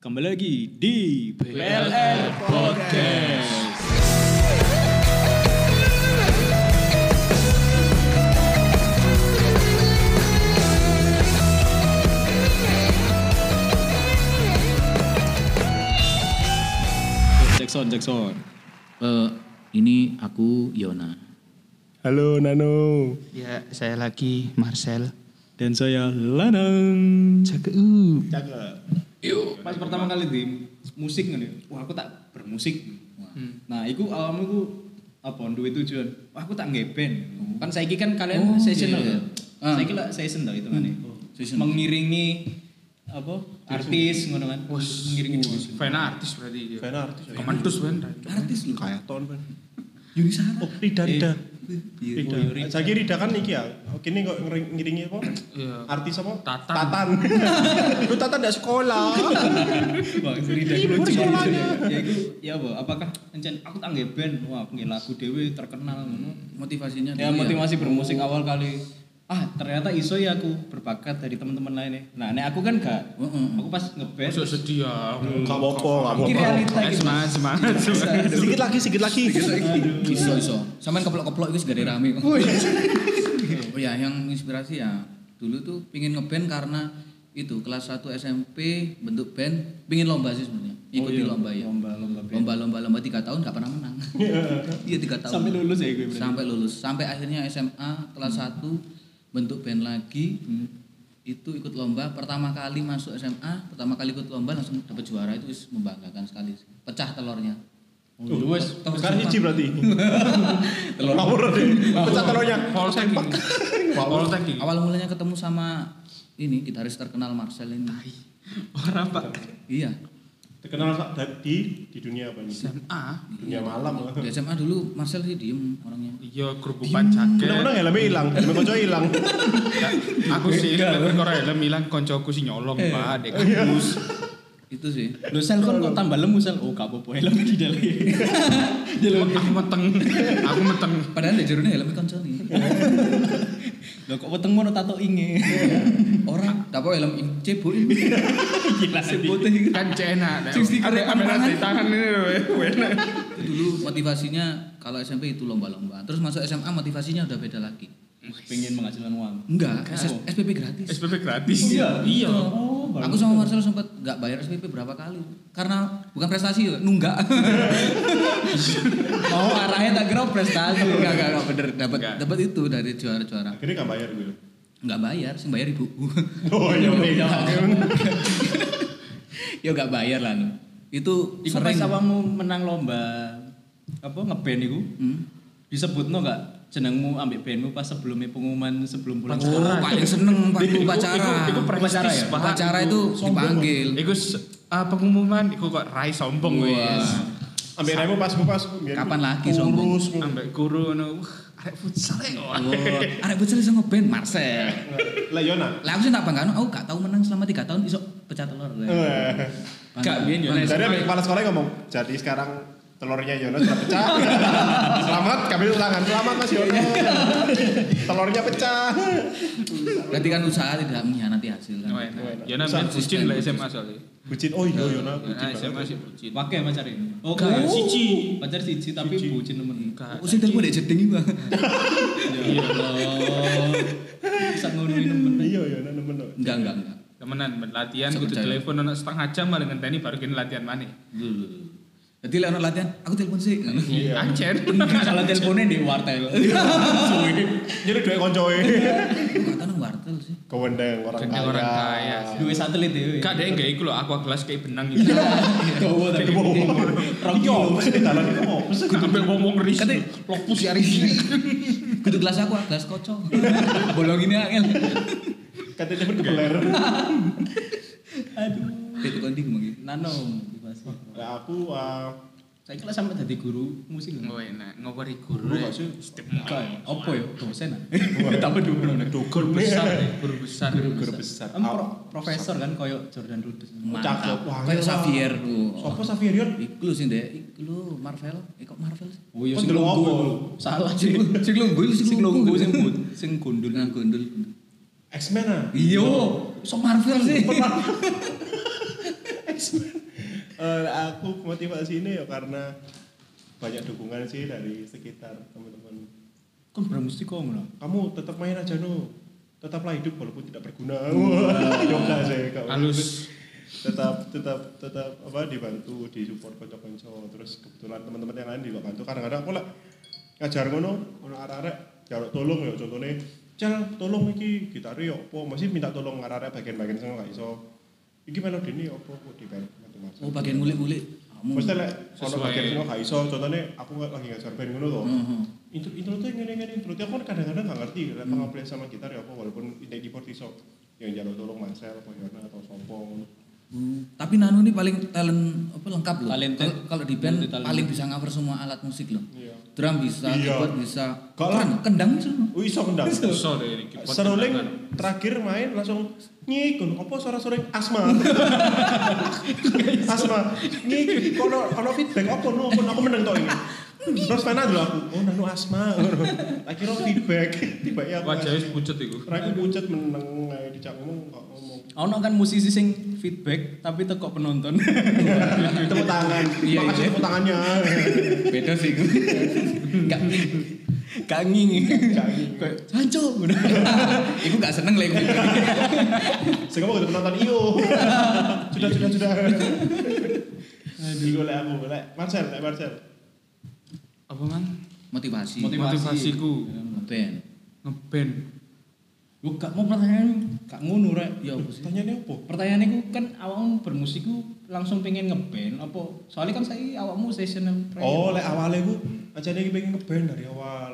Kembali lagi di PLN Podcast. Jackson, Jackson. Eh, ini aku Yona. Halo Nano. Ya, saya lagi Marcel. Dan saya Lanang. Cakep. Yuk. Pas pertama kali di musik ngene, wah aku tak bermusik. Hmm. Nah, iku awalmu iku apa duwe tujuan. Wah, aku tak ngeben. Kan saiki kan kalian Hmm. Oh, seasonal iya, Oh, iya. ya. Saiki lah season to hitungane. seasonal. Mengiringi apa? Artis ngono kan. Mengiringi musik. Fan artis berarti. Fan artis. Kementus kan. Artis lu. Kayak tahun kan. Yuni Sara. Oh, Rida Rida. Eh, iya, Rida. Oh, Rida. Saiki Rida kan iki ya. Kini kok ngering- ngiringi apa? Iya. Artis apa? Tatan. Tatan. Lu Tatan ndak sekolah. Wah, cerita dulu juga. Ya iku ya apa? Apakah encen aku tak ngeben? Wah, aku nge lagu dhewe terkenal ngono. Motivasinya Ya dulu motivasi bermusik awal kali. Ah ternyata iso ya aku berbakat dari teman-teman lain ya. Nah nek aku kan gak. Heeh. Aku pas ngeband. Masuk sedih ya. Enggak apa-apa, enggak Ini apa-apa. realita Eh, gitu. semangat, semangat. semangat. Sedikit lagi, sedikit lagi. Iso iso. Sampean keplok-keplok itu segede rame. iya. Oh ya, yang inspirasi ya dulu tuh pingin ngeband karena itu kelas 1 SMP bentuk band pingin lomba sih sebenarnya ikuti lomba ya Oh, iya. Lomba lomba band. lomba lomba lomba tiga tahun gak pernah menang iya tiga tahun Sampai lulus ya gue berarti. Hmm. sampai lulus sampai akhirnya SMA kelas 1 bentuk band lagi itu ikut lomba pertama kali masuk SMA pertama kali ikut lomba langsung dapat juara itu wis membanggakan sekali sih. pecah telurnya Oh, iya. Tuh, wes. Tahun Sekarang depan. Kan hiji berarti. telur Ngawur deh. Pecah telurnya. Polsek ini. Polsek ini. awal mulanya ketemu sama ini gitaris terkenal Marcel ini Ah, iya. Orang Pak iya Terkenal Pak Dadi di dunia apa ini? SMA. Dunia malam. di SMA dulu Marcel sih diem orangnya Iya, grup upan jaket. Bener-bener helmnya hilang, helmnya kocok hilang. Ya, Aku sih, bener orang helm hilang, koncoku sih nyolong, Pak. Dek kampus. itu sih Lo sel kan kok tambah lemu sel. Oh gak apa-apa helm di dalam. Aku meteng. Aku meteng. padahal di jeruknya helmnya konco nih Lo kok weteng mono tato inge. Iya. orang tak apa helm ing- cebok ini Gila sih. putih gitu. Kan cena. Sing stiker Ada tangan. kamera di tangan ini. we. Enak. Itu dulu motivasinya kalau SMP itu lomba-lomba terus masuk SMA motivasinya udah beda lagi Pengen menghasilkan uang. enggak Enggak. SS SPP gratis SPP gratis. Iya. Iya. Oh, bagus. Aku sama Marcel sempat nggak bayar SPP berapa kali karena bukan prestasi ya, nunggak. oh arahnya tak kira prestasi. Enggak enggak enggak bener dapat Nggak. dapat itu dari juara-juara. Akhirnya gak bayar gue. Nggak bayar, sing bayar ibu. Oh iya, iya. ya nggak bayar lah. Nu. Itu Iku pas awakmu menang lomba apa ngeband iku? Hmm. Disebutno gak jenengmu ambek bandmu pas sebelumnya pengumuman sebelum pulang Oh, sekolah? paling seneng Iku- pakai iku- upacara. iku Upacara prestis, ya? Pak. Upacara Iku- itu dipanggil. Iku se- ah, pengumuman iku kok rai sombong wis. Ambil remo pas gue pas. biar Kapan gue lagi Kurus. Ambek guru ngono. Wah, arek futsal e kok. Oh, arek bocil iso ngeband Marcel. Lah iya Yona. Lah aku sih tak bangga, aku gak tau menang selama 3 tahun iso pecah telur. Eh. Gak biyen Nah, yo. Jadi ambil kepala sekolah ngomong, jadi sekarang telurnya Yono sudah pecah. Selamat, kami ulangan. Selamat Mas Yono. telurnya pecah. Berarti kan usaha tidak mengkhianati hasil kan. Oh, enak. Ya Usaha namanya bucin lah SMA soalnya. Bucin, oh iya Yono. Ya, nah, SMA sih bucin. Pakai pacarin. Oh, Gak. enggak. Cici. Pacar siji tapi bucin temen. Oh, sing telepon dek jeding iki, Bang. Ya Allah. Bisa ngomongin temen. nah. Iya Yono nemen. no. Enggak, enggak, enggak. Temenan ben latihan Bisa kudu percaya. telepon ono setengah jam malah ngenteni baru kene latihan maneh. Jadi lek ono latihan, aku kan? telepon sih. Iya. Anjir. Salah teleponnya di wartel. Jadi dua koncoe. Kata nang wartel sih. Kewendeng orang Kewendeng kaya. orang kaya. Duwe satelit ya, dhewe. Gak ada yang gak iku lho, aku kelas kayak benang gitu. Gowo tapi. Rong Iya, kilo. mesti dalan itu mau. Mesti Sampai ngomong ris. Kata lokus ya ris. kudu gelas aku, ah, gelas kocok. Bolong ini ah, kan? angel. kata temen kebeler. Aduh. Itu kan ding mangki. Nano motivasi. Lah aku eh, Saya kira sampai dadi guru musik. Oh enak, ngopori guru. eh. ya. dulu gak sih? Setiap Kayak malam. apa ya? Dosen. ah. Tapi dulu. Doger Guru besar, ya, guru besar. Guru besar. Em, pro- profesor kan koyo Jordan Rudess. Cakep. Wah, Kayak iya. Xavier. Oh. Sopo Xavier Yon? Iku lho sih, Dek. Iku lho Marvel. Eh kok Marvel sih? Oh iya Kon sing delok lungguh apa? iku. Salah Sing sih. lu- sing lungguh, sing Sing lungguh lungguh. sing bud- sing gundul. Iya. Nah, gondol. X-Men ah. Iya, sok Marvel sih. Eh, aku motivasi ini ya karena banyak dukungan sih dari sekitar teman-teman. Kan bermusik kok ngono. Kamu tetap main aja no. Tetaplah hidup walaupun tidak berguna. Wah, yoga saya Kak. Halus. tetap tetap tetap apa dibantu disupport kocok-kocok terus kebetulan teman-teman yang lain juga bantu kadang-kadang aku lah ngajar ngono ono arek-arek jaluk tolong ya contohnya cel tolong iki gitare yo apa masih minta tolong arek-arek bagian-bagian sing gak iso iki melodi ini apa kok di band Oh bagian ngulik-ngulik. Kamu. Maksudnya lek ono Sesuai. bagian sing gak iso contohnya aku lagi ngajar band ngono loh Mhm. intro intro tuh ngene ngene intro tuh aku kan kadang-kadang gak ngerti hmm. tengah play sama gitar ya apa walaupun ini di portiso yang jalur tolong Marcel, apa Yona atau Sompong Hmm, Tapi Nano ini paling talent apa lengkap loh. Talented. Kalau kalau di band Multi-talented. paling bisa cover semua alat musik loh. iya Drum bisa, Iya. keyboard bisa. Kok Keren, kendang bisa. loh. Wih, iso kendang. Iso deh ini. keyboard Seruling tendangan. terakhir main langsung nyikun apa suara seruling asma. asma. Nyik kono kono feedback apa no pun aku meneng tok ini. Terus pena dulu aku, oh nanu asma. Lagi kira feedback, tiba ya aku. Wajahnya pucet itu. Terakhir pucet meneng ae dicak ngomong kok ngomong. Ono kan musisi sing feedback tapi teko penonton. Tepuk tangan. Iya, Makasih iya. tepuk tangannya. Beda sih gue. Gak Gak ngingi. Gak gitu. Kayak Sancho. Iku gak seneng lah iku. Sehingga mau penonton iyo. sudah sudah sudah. Iku lek aku, lek Marcel, lek Marcel. Apa man? Motivasi. Motivasi. Motivasiku Band. ngeband. Lu gak mau pertanyaan gak ngono rek. Ya apa sih? Tanyanya apa? Pertanyaannya ku kan awakmu bermusik ku langsung pengen ngeband apa? Soalnya kan saya awakmu session Oh, lek awalnya gue acaranya gue pengen ngeband dari awal.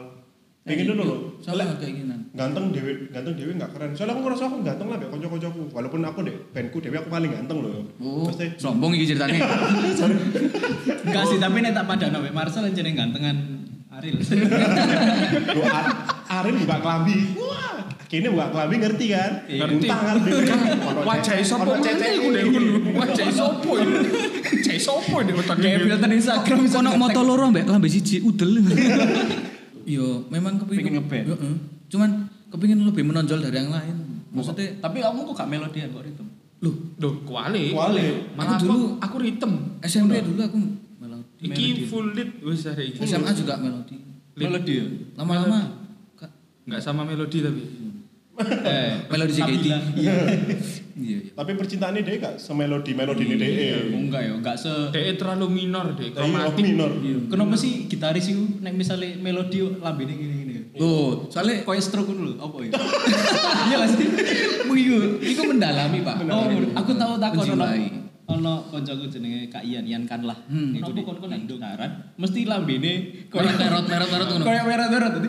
Pengen Eh, dulu loh. Sama keinginan. Ganteng dewe, ganteng dewe nggak keren. Soalnya aku ngerasa aku ganteng lah, bek kocok-kocokku. Walaupun aku deh, bandku dewe aku paling ganteng loh. Oh, Pasti. sombong iki ceritanya. Enggak sih, tapi nek tak padano wek Marcel jenenge gantengan Aril. Doa Arin buka kelambi. Wah, akhirnya buka kelambi ngerti kan? Iya. Muntah kan dewe. Ono Wajahnya cecek- sopo ono mana cecek iku deh ngono. Wajahnya sopo ya. Wajahnya sopo deh ya, otak Kayak ini. filter Instagram bisa Kono ngetek. moto loro mbek lambe siji udel. Yo, memang Pengen kepingin ngeband. Heeh. Cuman kepingin lebih menonjol dari yang lain. Maksudnya Maksudnya, tapi kamu kok gak melodian kok itu? Loh, Duh, kuali. Kuali. Malah Aku aku dulu- aku ritem. SMP dulu aku melodi. Melody. Iki full lead wis ada iki. SMA juga melodi. Melodi ya? Lama-lama ka- Enggak sama melodi tapi. Eh, melodi JKT. Nabila. Iya, iya. Tapi percintaannya dia gak semelodi melodi ini dia. Iya, enggak ya, enggak se DE terlalu minor deh, Tapi off kromatik. minor. Kenapa sih gitaris itu nek misalnya melodi lambene ngene-ngene ya? Loh, soalnya Kayak stroke dulu, apa ya? Iya gak sih? Iya, itu mendalami, Pak. Oh, aku tahu tak kono. Menjiwai. Ono koncoku jenenge Kak Ian, Ian kan lah. Hmm, Iku di kon nek ndaran, Nah, mesti lambene Kayak terot-terot-terot ngono. Kayak merah-merah tadi.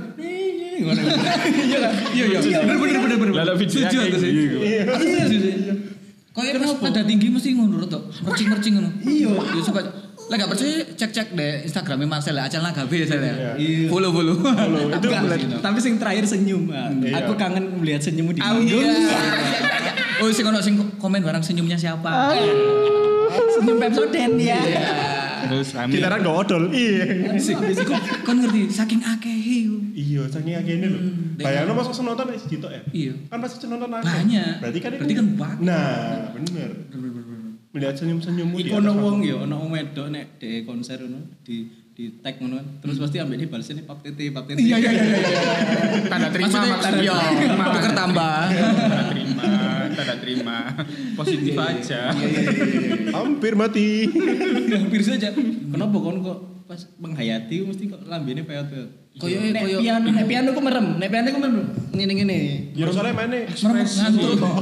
Ngono. Iya kan? Iya iya. Bener bener bener bener. Lah, lah, videonya Setuju kayak aku sih. gitu. Iya. Aku sih, aku sih. Kayak pas nada tinggi mesti ngono to. Mercing-mercing ngono. Iya. Yo suka. Lah gak percaya cek-cek deh Instagramnya Marcel ya, Acan Lagabe ya. Iya. Iya. Follow-follow. Itu Enggak, tapi sing terakhir senyum. ah. Iya. Aku kangen melihat senyummu di Oh panggung. iya. Oh sing ono sing komen barang senyumnya siapa? Senyum Pepsoden iya. ya. Terus rame. Gitaran gak odol. Iya. Habis iku kon ngerti saking akehe iku. Iya, saking akhirnya loh. Hmm. Bayangin masa senonton wis gitu ya. Iya. Kan pasti senonton akeh. Banyak. Berarti kan itu- Berarti kan banyak. Nah, bener. Melihat senyum-senyummu Iku ono wong ya, ono wong wedok nek dhek konser ngono di di tag ngono. Terus pasti ambek di balesnya pap tete, pap tete. iya iya. Tanda terima Maksudnya maksudnya. iya, tuker tambah. Tanda terima, tanda terima. Positif aja. Hampir mati. hampir saja kenapa kon kok pas menghayati mesti kok lambene peyot-peyot Koyoke, nek koyo- piano nek piano ku merem nek piano ku merem ngene-ngene Ya soalnya mainnya Merem ngantuk kok.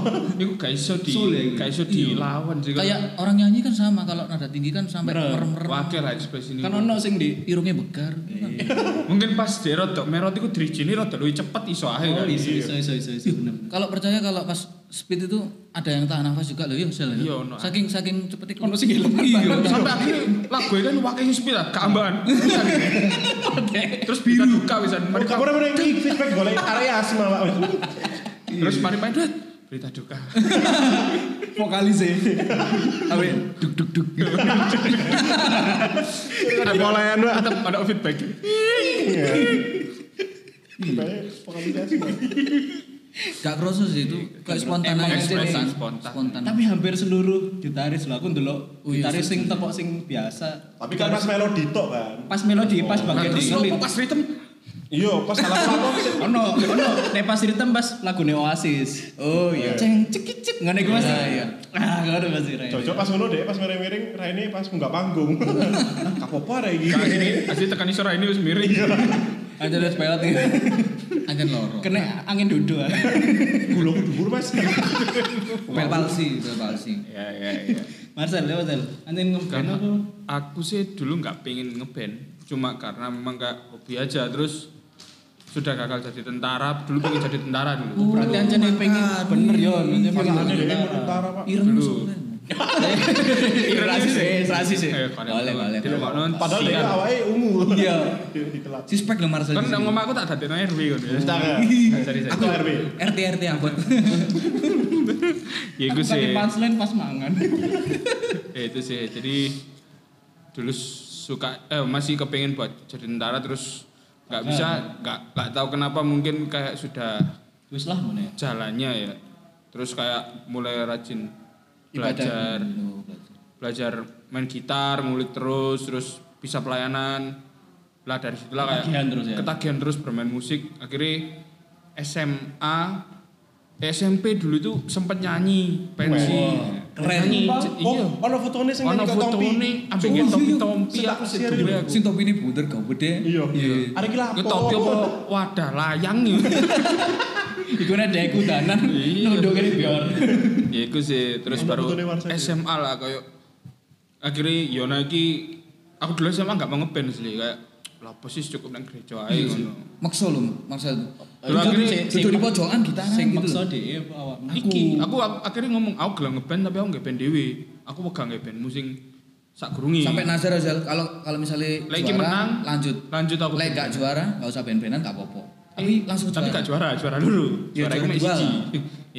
Iku gak iso di Sul ya, iku. gak iso dilawan sih. Kayak orang nyanyi kan sama kalau nada tinggi kan sampai Merem. merem-merem. wakil lah ekspresi ini. kan ono sing di Irungnya begar. Mungkin pas dia rodok merot iku dirijini rodok luwih cepet iso ae oh kan. iso iso iso iso iso bener Kalau percaya kalau pas speed itu ada yang tahan nafas juga loh, ya Sel, ya. Iya, ono. Saking saking cepet itu. Ono sing hilang. Iya. Sampai akhirnya lagu kan wakil sepi lah, keambahan. Terus biru duka bisa mari Mereka kurang mereka ini feedback boleh area asma pak. terus mari mari dut, berita duka. vokalis e awe Duk duk duk. Ada polayan pak. Tetap ada feedback. Pengaplikasi. Gak kerasa sih itu kayak spontan Emang aja spontan, sih. spontan. Spontan. Tapi hampir seluruh gitaris lah aku ndelok Oh iya, gitaris sih. sing tekok sing biasa. Tapi kan pas melodi tok kan. Pas melodi, pas Nah, bagian terus sing lo lead. pas rhythm Iya, pas salah salah Ono, ono, nek pas ritem pas lagune Oasis. Oh iya. Ceng cekicik cek ngene iku Mas. Iya, iya. Ah, ngono Mas. Rai. Cocok pas ngono deh, pas miring-miring Raine pas munggah panggung. Kapopo ra iki. Gak, Nah, ini asli tekan isora ini wis miring Ada lihat pelat nih. Ada loro. Kena angin dodo. ah. Gulung dhuwur Mas. Iya. Pel palsi, pel palsi. ya ya ya Marcel, ya Marcel. Anjen ngeband karena apa? aku sih dulu nggak pengen ngeband cuma karena memang kayak hobi aja terus sudah gagal jadi tentara dulu pengen jadi tentara dulu Berarti anjen yang pengen bener yo, anjen pengen Makane bener. dhewe Iya. mentara Pak. Ireng Dulu. soalnya. Rasis sih, rasis sih. Eh, kalian Boleh, tahu. boleh. Tidak boleh. mau Padahal sih, dhewe kan. awake ungu. Iya. Di- Ditelat. Si spek lo Marcel. kan di nang sini. omah aku tak dadekno RW kan ya. Jangan. Sorry, sorry. Aku RW. Iya. RT RT angkot. Ya Aku itu sih. pakai punchline pas mangan. Ya itu sih. Jadi dulu suka eh masih kepengen buat jadi tentara terus nggak bisa, nggak nggak tahu kenapa mungkin kayak sudah Wis lah mana ya? jalannya ya. Terus kayak mulai rajin belajar Oh, belajar. belajar main gitar, ngulik terus, terus bisa pelayanan. Lah dari situlah kayak Ketagihan terus ya? Ketagihan terus bermain musik. Akhirnya SMA SMP dulu itu sempat nyanyi pensi. Keren. Iya. Oh, ono fotone sing Ono nang fotone ambek Iya, iya. tompi-tompi Setak aku siaran. sedulur aku. Si topi ini bunder gak bede. Iya. Iya. Arek iki Ke topi apa wadah layang ya. Iku nek dek kudanan Iya. nunduk kene biar. ya iku sih terus Ono baru fotone Warsel. SMA lah kayak akhirnya Yona iki aku dulu SMA nggak mau ngeband sih kayak lah apa sih cukup nang gereja aja ngono. Maksa lo Marcel. Lu akhirnya sing- Duduk di pojokan gitaran Sing gitu maksa loh. dhewe apa awakmu? Iki, aku, aku akhirnya ngomong aku gelem ngeband tapi aku nggak band dewe. Aku pegang nggak bandmu sing sak gerungi. Sampai Nazar Ozal kalau kalau misalnya Lah, iki menang. lanjut. lanjut aku. Lek gak juara gak usah ben-benan gak apa-apa. Tapi langsung Iya, tapi gak juara, juara luru. Iya, Juara juara aku mek dua siji. lah.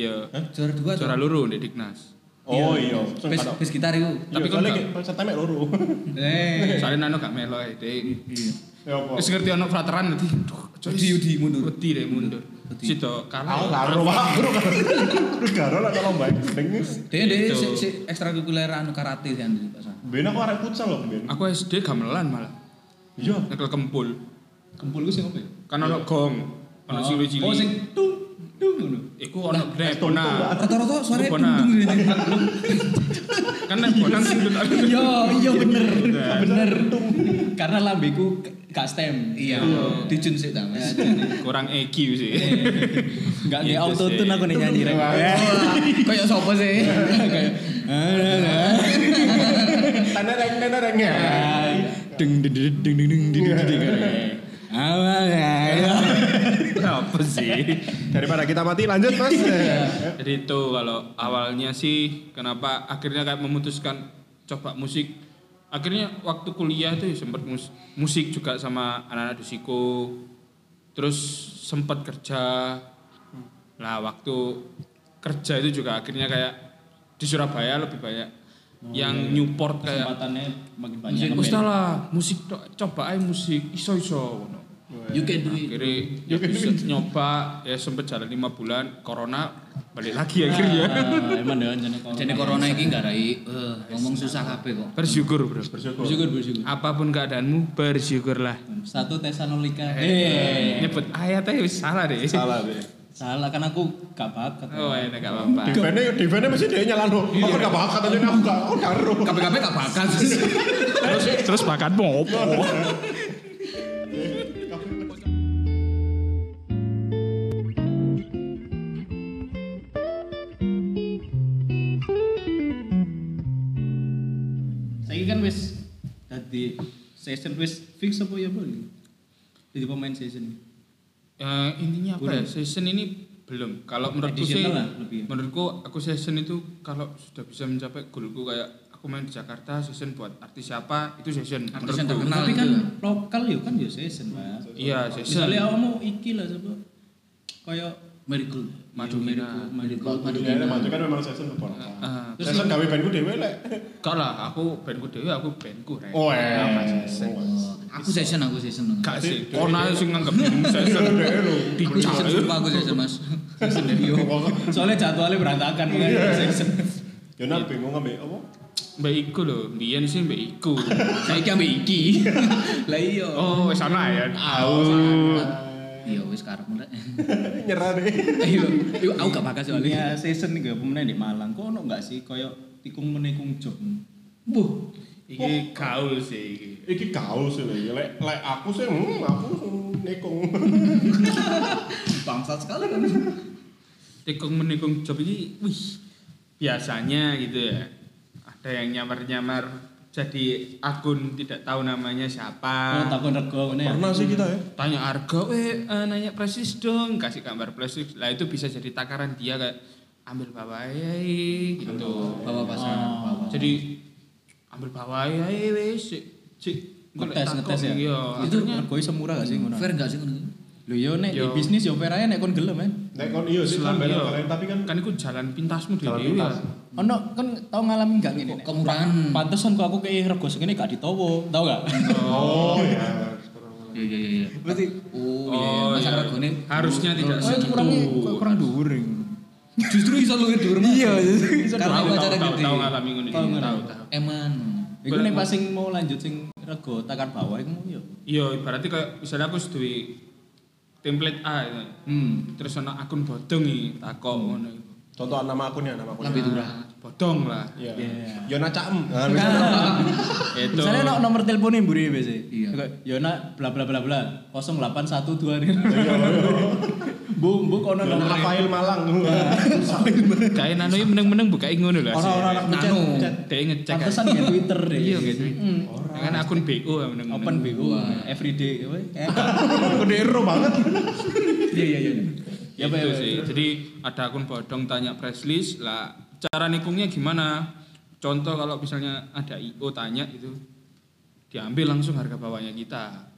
Iya. Juara dua Juara luru di Dignas. Oh iya. Bis, bis gitar itu. Tapi Tapi kan kan seteme loro. Eh. Soalnya nano gak melo ae, Dek. Iya. Ya apa? Wis ngerti ono frateran dadi. Duh, coy. Wedi, wedi, mundur. Wedi deh mundur. Wedi. Sido Aku kalah. karo Pak. Terus karo lah kalau mbak gendeng. Dia dia Gitu. si, si ekstrakurikuler anu karate sih anu Pak San. Ben aku arek futsal loh, Ben. Aku SD gamelan malah. Iya. Nyekel kempul. Kempul ku sing opo ya? Kan ono gong. Ono cilik-cilik. Oh sing tung tung ngono. Iku ono grep. Tung-tung Nah, Rata-rata suaranya Bona. dung dung ini. kan nek bonang sing dut- Yo, iya bener. Bener. Bener. Karena lambeku k- gak stem. Iya. Dijun sih ta Iya, Mas. kurang EQ sih. Enggak di Gitu auto tune sih. aku nih nyanyi rek. Eh, Kayak sapa sih? Kayak, ah, ah, ah. Tenereng tenereng ya. Deng deng deng deng deng deng deng deng, deng. Iya. Apa ya? Apa sih? Daripada kita mati lanjut, Mas. Iya. Eh, Jadi itu kalau awalnya sih kenapa akhirnya kayak memutuskan coba musik. Akhirnya waktu kuliah tuh sempat mus- musik juga sama anak-anak disiko. Terus sempat kerja. Nah, waktu kerja itu juga akhirnya kayak di Surabaya lebih banyak yang Newport kayak Kesempatannya makin banyak. musik Mas. "Wis dah lah, musik tok, coba aja musik iso-iso ngono. You can do it. akhirnya ya bisa nyoba ya sempet jalan lima bulan corona balik lagi akhirnya Ah, Emang deh jane corona. Jadi corona ini gak rai eh, ngomong susah kabeh kok. bersyukur bro Bersyukur. Bersyukur bersyukur. apapun keadaanmu bersyukurlah Satu Tesalonika. Eh, Eh, nyebut ayatnya wis salah deh Salah deh. salah kan aku gak bakat. oh ya gak apa-apa Defennya, defennya masih dia nyala loh. Iya. Aku gak bakat aja aku gak, aku karo. KPKP gak bakal. terus terus bakat mau apa Saya kan wis dadi season wis fix apa ya boleh. Jadi pemain season. Eh, intinya apa ya season ini belum kalau menurutku sih Additional lah, lebih ya. menurutku aku season itu kalau sudah bisa mencapai goalku kayak aku main di Jakarta season buat artis siapa itu season Artis yang menurutku terkenal. Kenal Tapi kan itu. lokal ya kan ya season, Pak. iya season Misalnya kamu iki lah coba kayak Miracle. Madu Ya, Mina. Miracle, Miracle, Madu Iya, maju kan memang season beberapa. Ah, Season gawe bandku dhewe lek. Gak lah, aku bandku dewe, aku bandku rek. Oh, eh. Apa sih? Oh, Aku session aku session. Gak sih, kono aja sing nganggep dirimu session. Dhewe lho. Aku session sumpah aku session Mas. season ya. Soalnya jadwalnya berantakan makanya Iya. dua season. Ya nak bingung ambek apa? Mbak Iku loh, Dian sih Mbak Iku. Saiki ambek iki. Lah iya. Oh, sana ya. Au. Iya wis karep mulai. Nyerah deh. Ayo, yo aku gak bakal Soalnya Iya, soalnya. season tiga pemenang di Malang. Kok ono nggak sih koyok tikung menekung job? Buh, Iki gaul sih iki. Iki gaul sih lek lek lek aku sih hmm, aku nekong. bangsat sekali kan. Tikung menikung job ini, wih. Biasanya gitu ya. Ada yang nyamar-nyamar jadi akun tidak tahu namanya Ono siapa. takon rego ngene ya. Pernah sih kita ya. Tanya harga, eh eh, nanya presis dong, kasih gambar presis. Lah itu bisa jadi takaran dia kayak ambil bawah ya, gitu. Bawa pasangan, Oh. bawa. Jadi ambil bawah ya, eh wes sik sik engko lek Ngetes takon, ngetes ya. Iya. Itu Akhirnya rego iso murah gak sih Oh. ngono? Fair gak sih ngono? Lho yo nek di Yo. bisnis yo fair aja nek kon gelem ya. Nek kon iyo sih Islam sampe iya. kalian tapi kan kan iku jalan pintasmu Jalan dhewe ya. pintas. Ono kan tau ngalamin gak ngene. Nek? Kemurahan. Pantesan kok aku kayak rego segini gak ditowo, tau gak? Oh ya. Iya iya iya. Berarti Oh, iya. Oh, Masa iya. regone harusnya tidak oh, kurangnya kurang dhuwur. justru iso luwih dhuwur. Iya, Tahu, karena tahu, acara tahu, gede. tahu ngalami ngono Tahu, iki, ngalami. tahu tahu. Eman. Iku nek pas sing mau lanjut sing rego takar bawah iku mau yo. Iya, ibaratnya kayak misalnya aku wis duwe template A gitu. Hmm. Terus ana akun bodong iki takok ngono iku. Contoh nama akunnya nama akunnya. Lebih durah. Bodong lah. Iya. Iya. Yona Caem. Nah, Itu. Misalnya no, nomor teleponnya mburi biasa. Iya. Kayak, Yona bla bla bla bla 0812 nih. Bu, bu kono Yona nomor Rafael Malang. Kae nanu iki meneng-meneng buka ngono lah. Orang-orang anak Nano. ngechat. Dhewe ngecek. Pantesan ya Twitter deh. Iya, gitu. Kan akun BO ya meneng. Open BO everyday. weh. Eh, Kudero banget. Iya iya iya. Ya, Ya Pak, ya, itu Pak. sih. Jadi ada akun bodong tanya press list lah. Cara nikungnya gimana? Contoh kalau misalnya ada IO tanya itu diambil langsung harga bawahnya kita.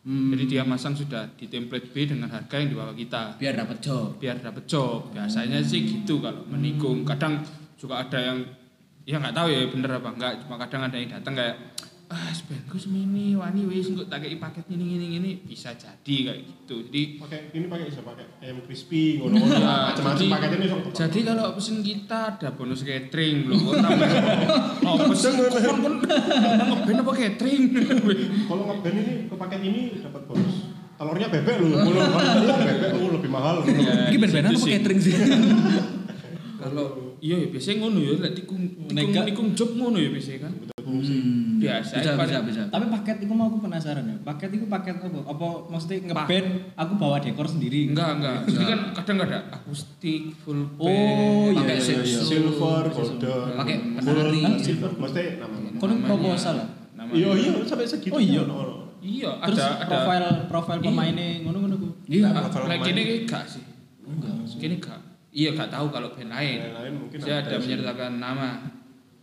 Hmm. Jadi dia masang sudah di template B dengan harga yang di bawah kita Biar dapat job. biar dapat job. Biasanya sih gitu kalau menikung. Kadang juga ada yang ya nggak tahu ya bener apa enggak. Cuma kadang ada yang datang kayak ah sebenarnya semini wani wis engko tak kei paket ini ini ini bisa jadi kayak gitu. Jadi Pakai ini pakai bisa pakai ayam crispy ngono-ngono. Ya, Macam-macam jadi- paketnya iso. Jadi kalau pesen kita ada bonus catering loh. Kok tambah oh, pesen kon kon ngeben apa catering? Kalau ngeband ini ke paket ini dapat bonus. Telurnya bebek lu. Ngono. Oh, Bebek lu lebih mahal. ngono. Eh, Iki ben-benan apa catering sih? Kalau iya ya biasanya ngono ya lek tikung Nega. tikung tikung job ngono ya biasanya kan. Hmm. Biasa, Bisa bisa paling- bisa. Tapi paket iku mau aku penasaran ya. Paket iku paket apa? Apa mesti ngeband aku bawa dekor sendiri? Enggak, enggak. Jadi kan kadang nggak ada akustik full Oh band. iya Pakai iya iya. sesu. Silver, golden. Pakai gold. penari. Hah, Silver. Mesti nama-nama. Kono Namanya- proposal lah. Namanya- Iya, iya, sampai Iya. segitu. Oh, iya. Ono-ono. Iya, ada Terus ada profil profil pemainnya ngono-ngono ku. Iya. Ah, Profil Lek pemain. kene iki gak sih. Enggak. Kene gak. Iya, gak tahu kalau band lain. Yang lain mungkin Saya ada ada sih. menyertakan nama,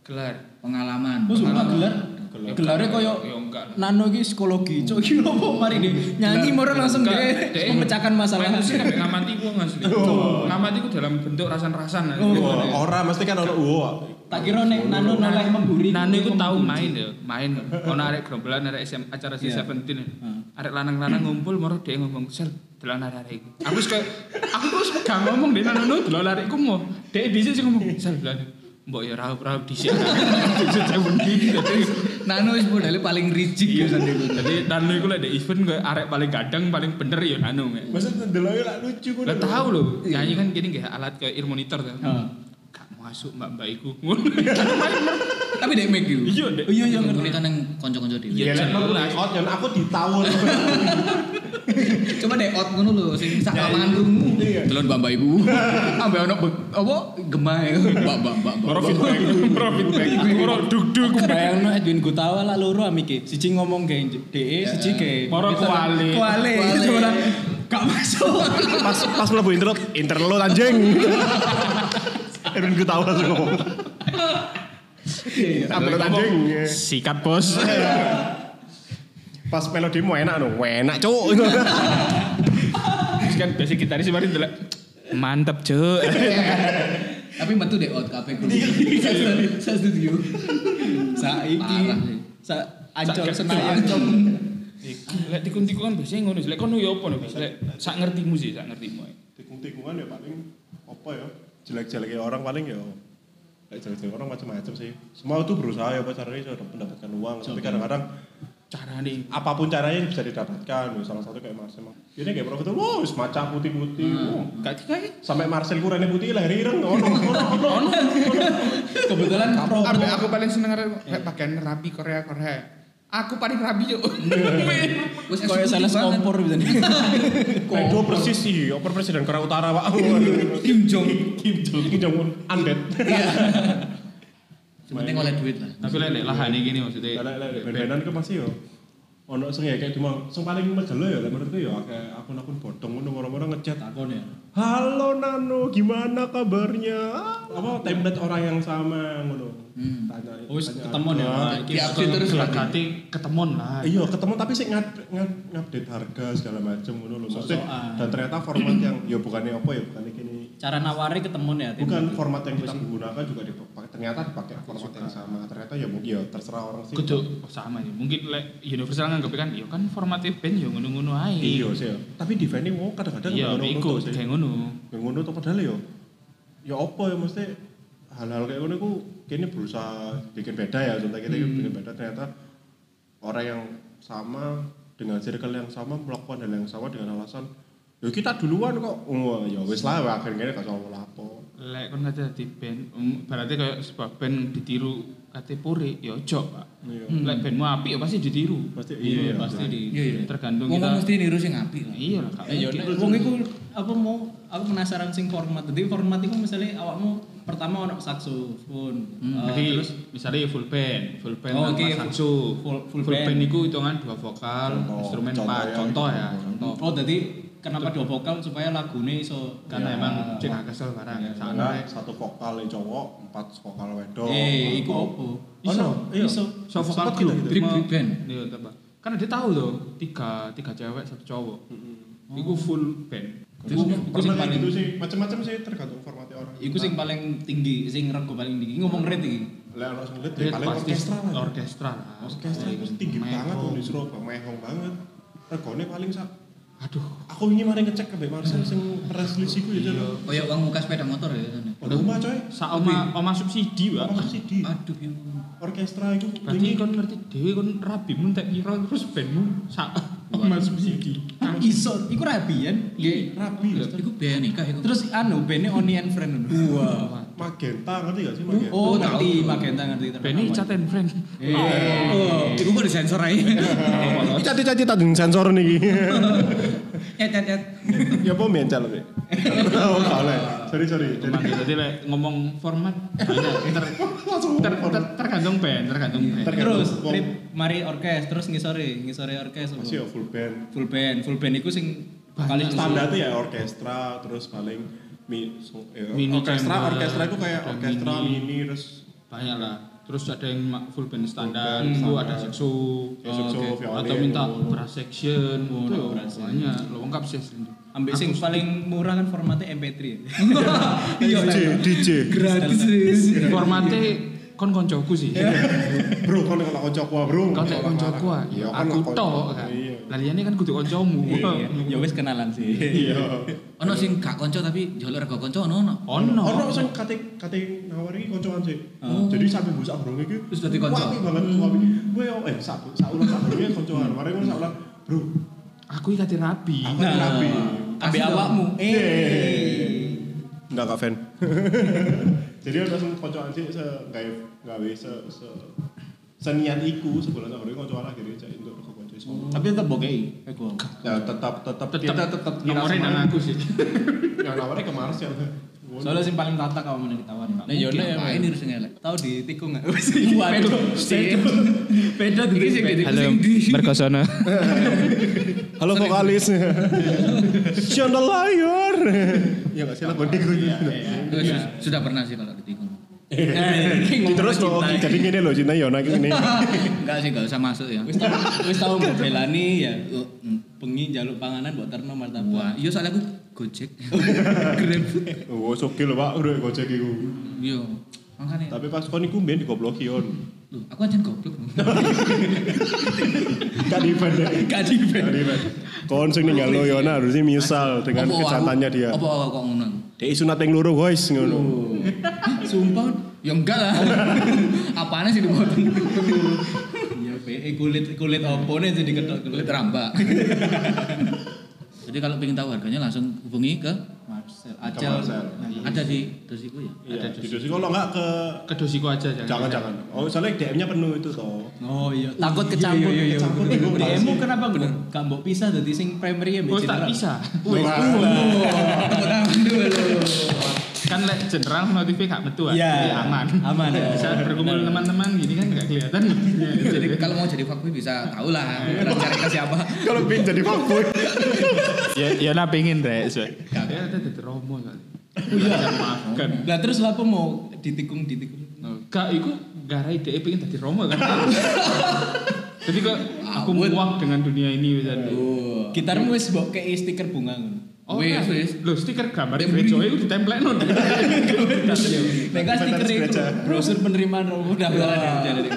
gelar, Pengalaman. Oh, sumpah gelar. Gelar. Gelare koyo Ya, enggak lah. nano iki psikologi. Cok iki opo mari deh. Nyanyi moro langsung deh Dek, memecahkan masalah. main musik sampe ngamati wong asli. Oh. Ngamati ku dalam bentuk rasan-rasan. Oh. Wah, Ora mesti kan ono uwa. Tak kira nek nano noleh memburi. Nani ku tau main ya, main. Ono arek gerombolan arek SM acara si Iya. 17. Heeh. Arek lanang-lanang ngumpul moro dhek ngomong, "Sel, delan arek iku." Aku wis kayak aku wis gak ngomong dhek nang ngono delan arek iku mau. Dhek dhisik sing ngomong, "Sel, delan." Mbok ya raup-raup dhisik. Dhisik jam endi. Nano wis modele paling rijik Iya, biasanya. jadi Nano iku lek di event kayak arek paling gadang paling bener ya Nano. ya. Mesti ndeloknya lak lucu ngono. Lah tahu loh, nyanyi kan gini kayak alat kayak ear monitor Iya. tuh. Heeh. Gak masuk mbak mbak iku. Kan main. Tapi dek make yo. Iya, Dek. Iya iya ngerti kan yang kanca-kanca dhewe. Iya, Ya lek aku jelas. out, Jan, aku ditawon. Iya, Coba dek out ngono lho sing sak lapangan krungu. Iya. Delon mbak ibu. Ambe ono be- apa ya. gemae mbak mbak mbak. mbak. Moro feedback, moro feedback, moro duduk, Bayangno Edwin Gutawa lah loro amike. Siji ngomong ge DE, E, siji ge. moro kuali. Kuale. Kuali. Ora gak masuk. Pas pas mlebu intro, interlo anjing. Erwin gue tahu langsung ngomong. Iya, Upload anjing. Sikat bos. Pas melodimu enak no, enak cuk. Terus kan basic gitaris kemarin tuh mantep cuy. Tapi metu dek out kabeh krungu. Sa studio. Saiki Parah sih. sa ancol Sa- senayan. Lek tikun-tikun kan biasanya ngono, lek kono ya apa nih, lek sak ngertimu sih, sak ngertimu. ae. Tikung tikung-tikungan ya paling apa ya jelek-jeleknya orang paling ya Lek jelek-jelek orang macam-macam sih semua itu berusaha ya apa caranya untuk mendapatkan uang tapi kadang-kadang Cara nih. apapun caranya bisa didapatkan ya, salah satu kayak Marcel ini kayak profit wow semacam putih-putih Oh, wow. Kayak kayak sampai Marcel kurangnya putih lah ireng ono ono ono Kebetulan pro. Aku, aku paling seneng arek- kayak bagian rapi Korea Korea. Aku paling rapi yuk. Wes Kayak sales kompor gitu nih. Pedro persis sih oper presiden Korea Utara pak Kim Jong. Kim Jong Kim Jong Un undead Sementing oleh duit lah. tapi lek lahan iki gini maksudnya. Lah lah ben-benan ku pasti yo. Ono sing ya kayak cuma sing paling megelo ya lek menurutku ya kayak akun-akun bodong ngono orang-orang ngechat. Takon ya. Halo Nano, gimana kabarnya? Apa Hmm. template orang yang sama ngono. Tanya. Oh, wis tanya ketemon ya? apa. Nah, iki Di update terus suka lagi. kati ketemuan lah. Iya, ketemu tapi sih ngad, ngad, ngupdate harga segala macam ngono loh. Maksudnya, Sok-sokan. dan ternyata format yang ya bukannya apa ya, bukannya gini Cara nawari ketemuan ya. Tim. bukan format yang kita gunakan juga dipakai ternyata dipakai format yang sama ternyata ya mungkin ya terserah orang sih Kudu oh, sama ya. Mungkin lek universal nganggep kan iya kan formatnya band yo ngono-ngono ae. iya sih ya. tapi di vending mau kadang-kadang Iya, ngono-ngono iku sih. kayak ngono. yang ngono tuh padahal ya ya apa ya mesti hal-hal kayak ngono ku kayaknya berusaha bikin beda ya contoh kita bikin beda ternyata orang yang sama dengan circle yang sama melakukan hal yang sama dengan alasan ya kita duluan kok wah ya wis lah akhirnya gak sama lapo Lek kon kate dadi band, em, berarti kayak sebuah band ditiru kate pore ya ojo, Pak. Iya. Lek bandmu apik ya pasti ditiru. pasti iya, ya, pasti di. Iya iya. Tergantung Wong kita. mesti niru sing apik lah. Iya lah, Kak. Iya, nek wong iku apa mau aku penasaran sing format. Jadi format iku misalnya awakmu pertama ono saksofon. eh, Hmm. Jadi misalnya ya full band, full band Oh, tanpa oke, sakso. full- full band. itu hitungan dua vokal, Contoh, instrumen contoh empat, ya. contoh ya, contoh. Oh, jadi kenapa dua vokal supaya lagune iso Karena Ya. emang cek kesel barang. Iya. Sana Karena satu vokal yang cowok, empat vokal wedok. Eh, iku opo? Oh, no. Iya. iso. gitu. so vokal Sempet group, gitu-gitu. Dream mau- band. Iya, tambah. Karena dia tahu loh, tiga tiga cewek satu cowok. Iku full band. Iku iku sing Formatnya paling gitu sih, macam-macam sih tergantung formatnya orang. iku sing paling tinggi, sing rego paling tinggi. Iki Ngomong rate iki. Lah orang sing Dia ya paling Iya, pasti orkestra lah. Orkestra Iya, lah. Orkestra itu tinggi banget tuh di Surabaya, mehong banget. Regone paling sak. Aduh, Aku ingin mari ngecek ke Mbak Marcel sing resolusi ku ya Iya. Cok. Kayak uang muka sepeda motor ya. sana. Udah rumah coy. sak oma oma subsidi, Pak. Apa subsidi? Aduh. ya. Orkestra itu Ah. Berarti kon ngerti dhewe kon rabimu tak kira terus bandmu sak oma subsidi. Ah, Iso, iku rabian. Iya. rapi. Iku biaya nikah iku. Terus anu bandnya Oni and Friend. Wah. Magenta ngerti gak sih magenta? Oh, Tahu, ngerti tahu. Magenta ngerti terkenal. Iya. Benny Chat and Friend. Oh, iku kok disensor ae. Cita-cita tadi sensor nih. Eh, Ya ya ya. ya apa mencal sih? Oh, salah. Sorry sorry. Jadi- Cuman jadi lek ngomong format banyak. ter, Langsung ter, ter, tergantung band, tergantung band. Tergantung Terus wong. rate mari orkes, terus ngisore, ngisore orkes. apa? Masih ya full band. Full band, full band iku sing paling Paling standar tuh ya orkestra, terus paling mi, so, ya, Mini orkestra, chamber, orkestra itu kayak ada orkestra mini. mini, terus Banyak lah. Terus ada yang ma- full band standar, band itu standar. ada Hmm. seksu, ya, saxo, violin, atau minta gitu. brass section, Oh, itu ada brass section. banyak. Lo lengkap sih aslinya. Ambil sing paling murah kan formatnya MP3. Iya. DJ, DJ. Gratis. Iya. Formatnya kon koncoku sih. Bro, kan kalau kocok gua, bro. Kau tak koncoku ah. Iya, kan Aku tok lah, kocok. kan. Iya. Laliannya kan kudu koncomu. Ya wis kenalan sih. Iya. Ono sing gak konco tapi jalur rego konco ono ono. Ono. Ah. Ono sing kate kate nawari koncokan sih. Oh. Jadi sampe mbok sak brong iki Terus dadi konco. Wapi banget Hmm. wapi. Gue yo eh sak sak ulang sak brong koncokan. Mari ngono sak ulang. Bro, Aku iki kate rapi. aku nah. rapi. Ambil awakmu. Iya, Eh. Enggak kak fan. Jadi ono sing koncokan sih se gawe gawe se se senian iku sebulan sak brong koncokan akhirnya cek untuk ke konco iso. Tapi tetap bokei. Ego. Ya tetap tetap kita Tetap tetap kira nomorin sama- nang aku sih. yang nawari ke ya, Marcel. Soalnya sing paling tata kamu menang ditawarin. Nah yo nek ae niru sing elek. Tahu di tikung nggak? Waduh. Beda iki sing ditipu sing di. Merkosono. Halo vokalis. Chandelier. ya enggak sih lah Bondi gue. Wes, Sudah pernah sih kalau ditikung. Eh, Terus loh, jadi gini loh cinta Yona gini. Enggak sih, enggak usah masuk ya. Wis tau wis tau mbok belani ya. Pengi jaluk panganan buat terno martabak. Wah, iya soalnya aku Gojek. Grab. Oh, oke loh Pak, udah gojek iku. Iya. Makanya Tapi pas kon iku mbiyen digobloki on. Loh, aku aja goblok. Gak di event deh. Gak di Gak di event. Kon sing ninggal lo Yona harusnya menyesal dengan kejahatannya dia. Apa aku kok ngono? Dia sunat yang loro guys ngono. Sumpah, ya enggak lah. Apaan sih dipotong? Iya, Eh, PE kulit kulit opone jadi ketok Kulit kulit. rambak. Jadi kalau pengen tahu harganya langsung hubungi ke Marcel, Acel. Marcel. Nah, iya. ada di dosiku ya. Ada Iya, dus. judul sih kalau nggak ke Ke dosiku aja jangan. jangan jangan. Oh soalnya DM-nya penuh itu toh. Oh iya. Takut Iya, kecampur. Iya, iya, Kecampur, iya. ibu, Di males emu ya. kenapa bener? Gak mbok pisah dari sing primary ya Oh, mbok tak general. bisa. Wih, Oh, Kan lek general notifnya gak metu kan. Iya. Jadi aman. Aman, ya. Bisa berkumpul teman-teman gini kan gak kelihatan. Iya, Jadi Jadi kalau mau jadi fuckboy bisa tahu lah cari ke siapa. Kalau pin jadi fuckboy. ya ya nak pengin rek. Gak ada dadi romo kali. Makan. Lah terus lapo mau ditikung ditikung. Kak, iku garai dhek pengen dadi romo kan. Jadi kok aku muak dengan dunia ini bisa. Oh. Gitarmu wis mbok kei stiker bunga ngono. Oh, Wis, wis. wis, Lho, stiker gambar gereja itu ditemplek non. Nek kan Inventaris stiker itu gereja. brosur penerimaan romo udah dari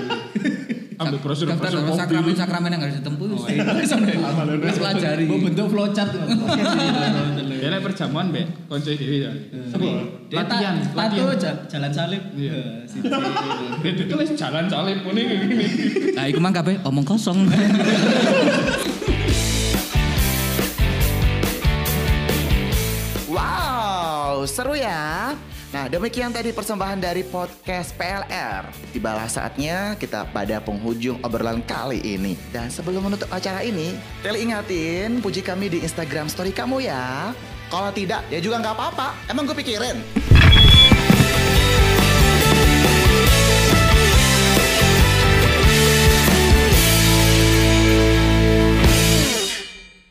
Ambil brosur Daftar brosur daftar mobil. sakramen-sakramen yang harus ditempuh. Amalan. Harus pelajari. Mbok bentuk flowchart ngono. iya, Ya lek perjamuan be, konco dhewe ya. Latihan, Latihan, tato latihan. ja- jalan salib. Iya. Eh, siji. Itu tulis jalan salib muni ngene. Nah, iku mang kabeh omong kosong. Wow, seru ya. Nah, demikian tadi persembahan dari podcast PLR. Tibalah saatnya kita pada penghujung obrolan kali ini. Dan sebelum menutup acara ini, Teli ingatin puji kami di Instagram story kamu ya. Kalau tidak, ya juga nggak apa-apa. Emang gue pikirin.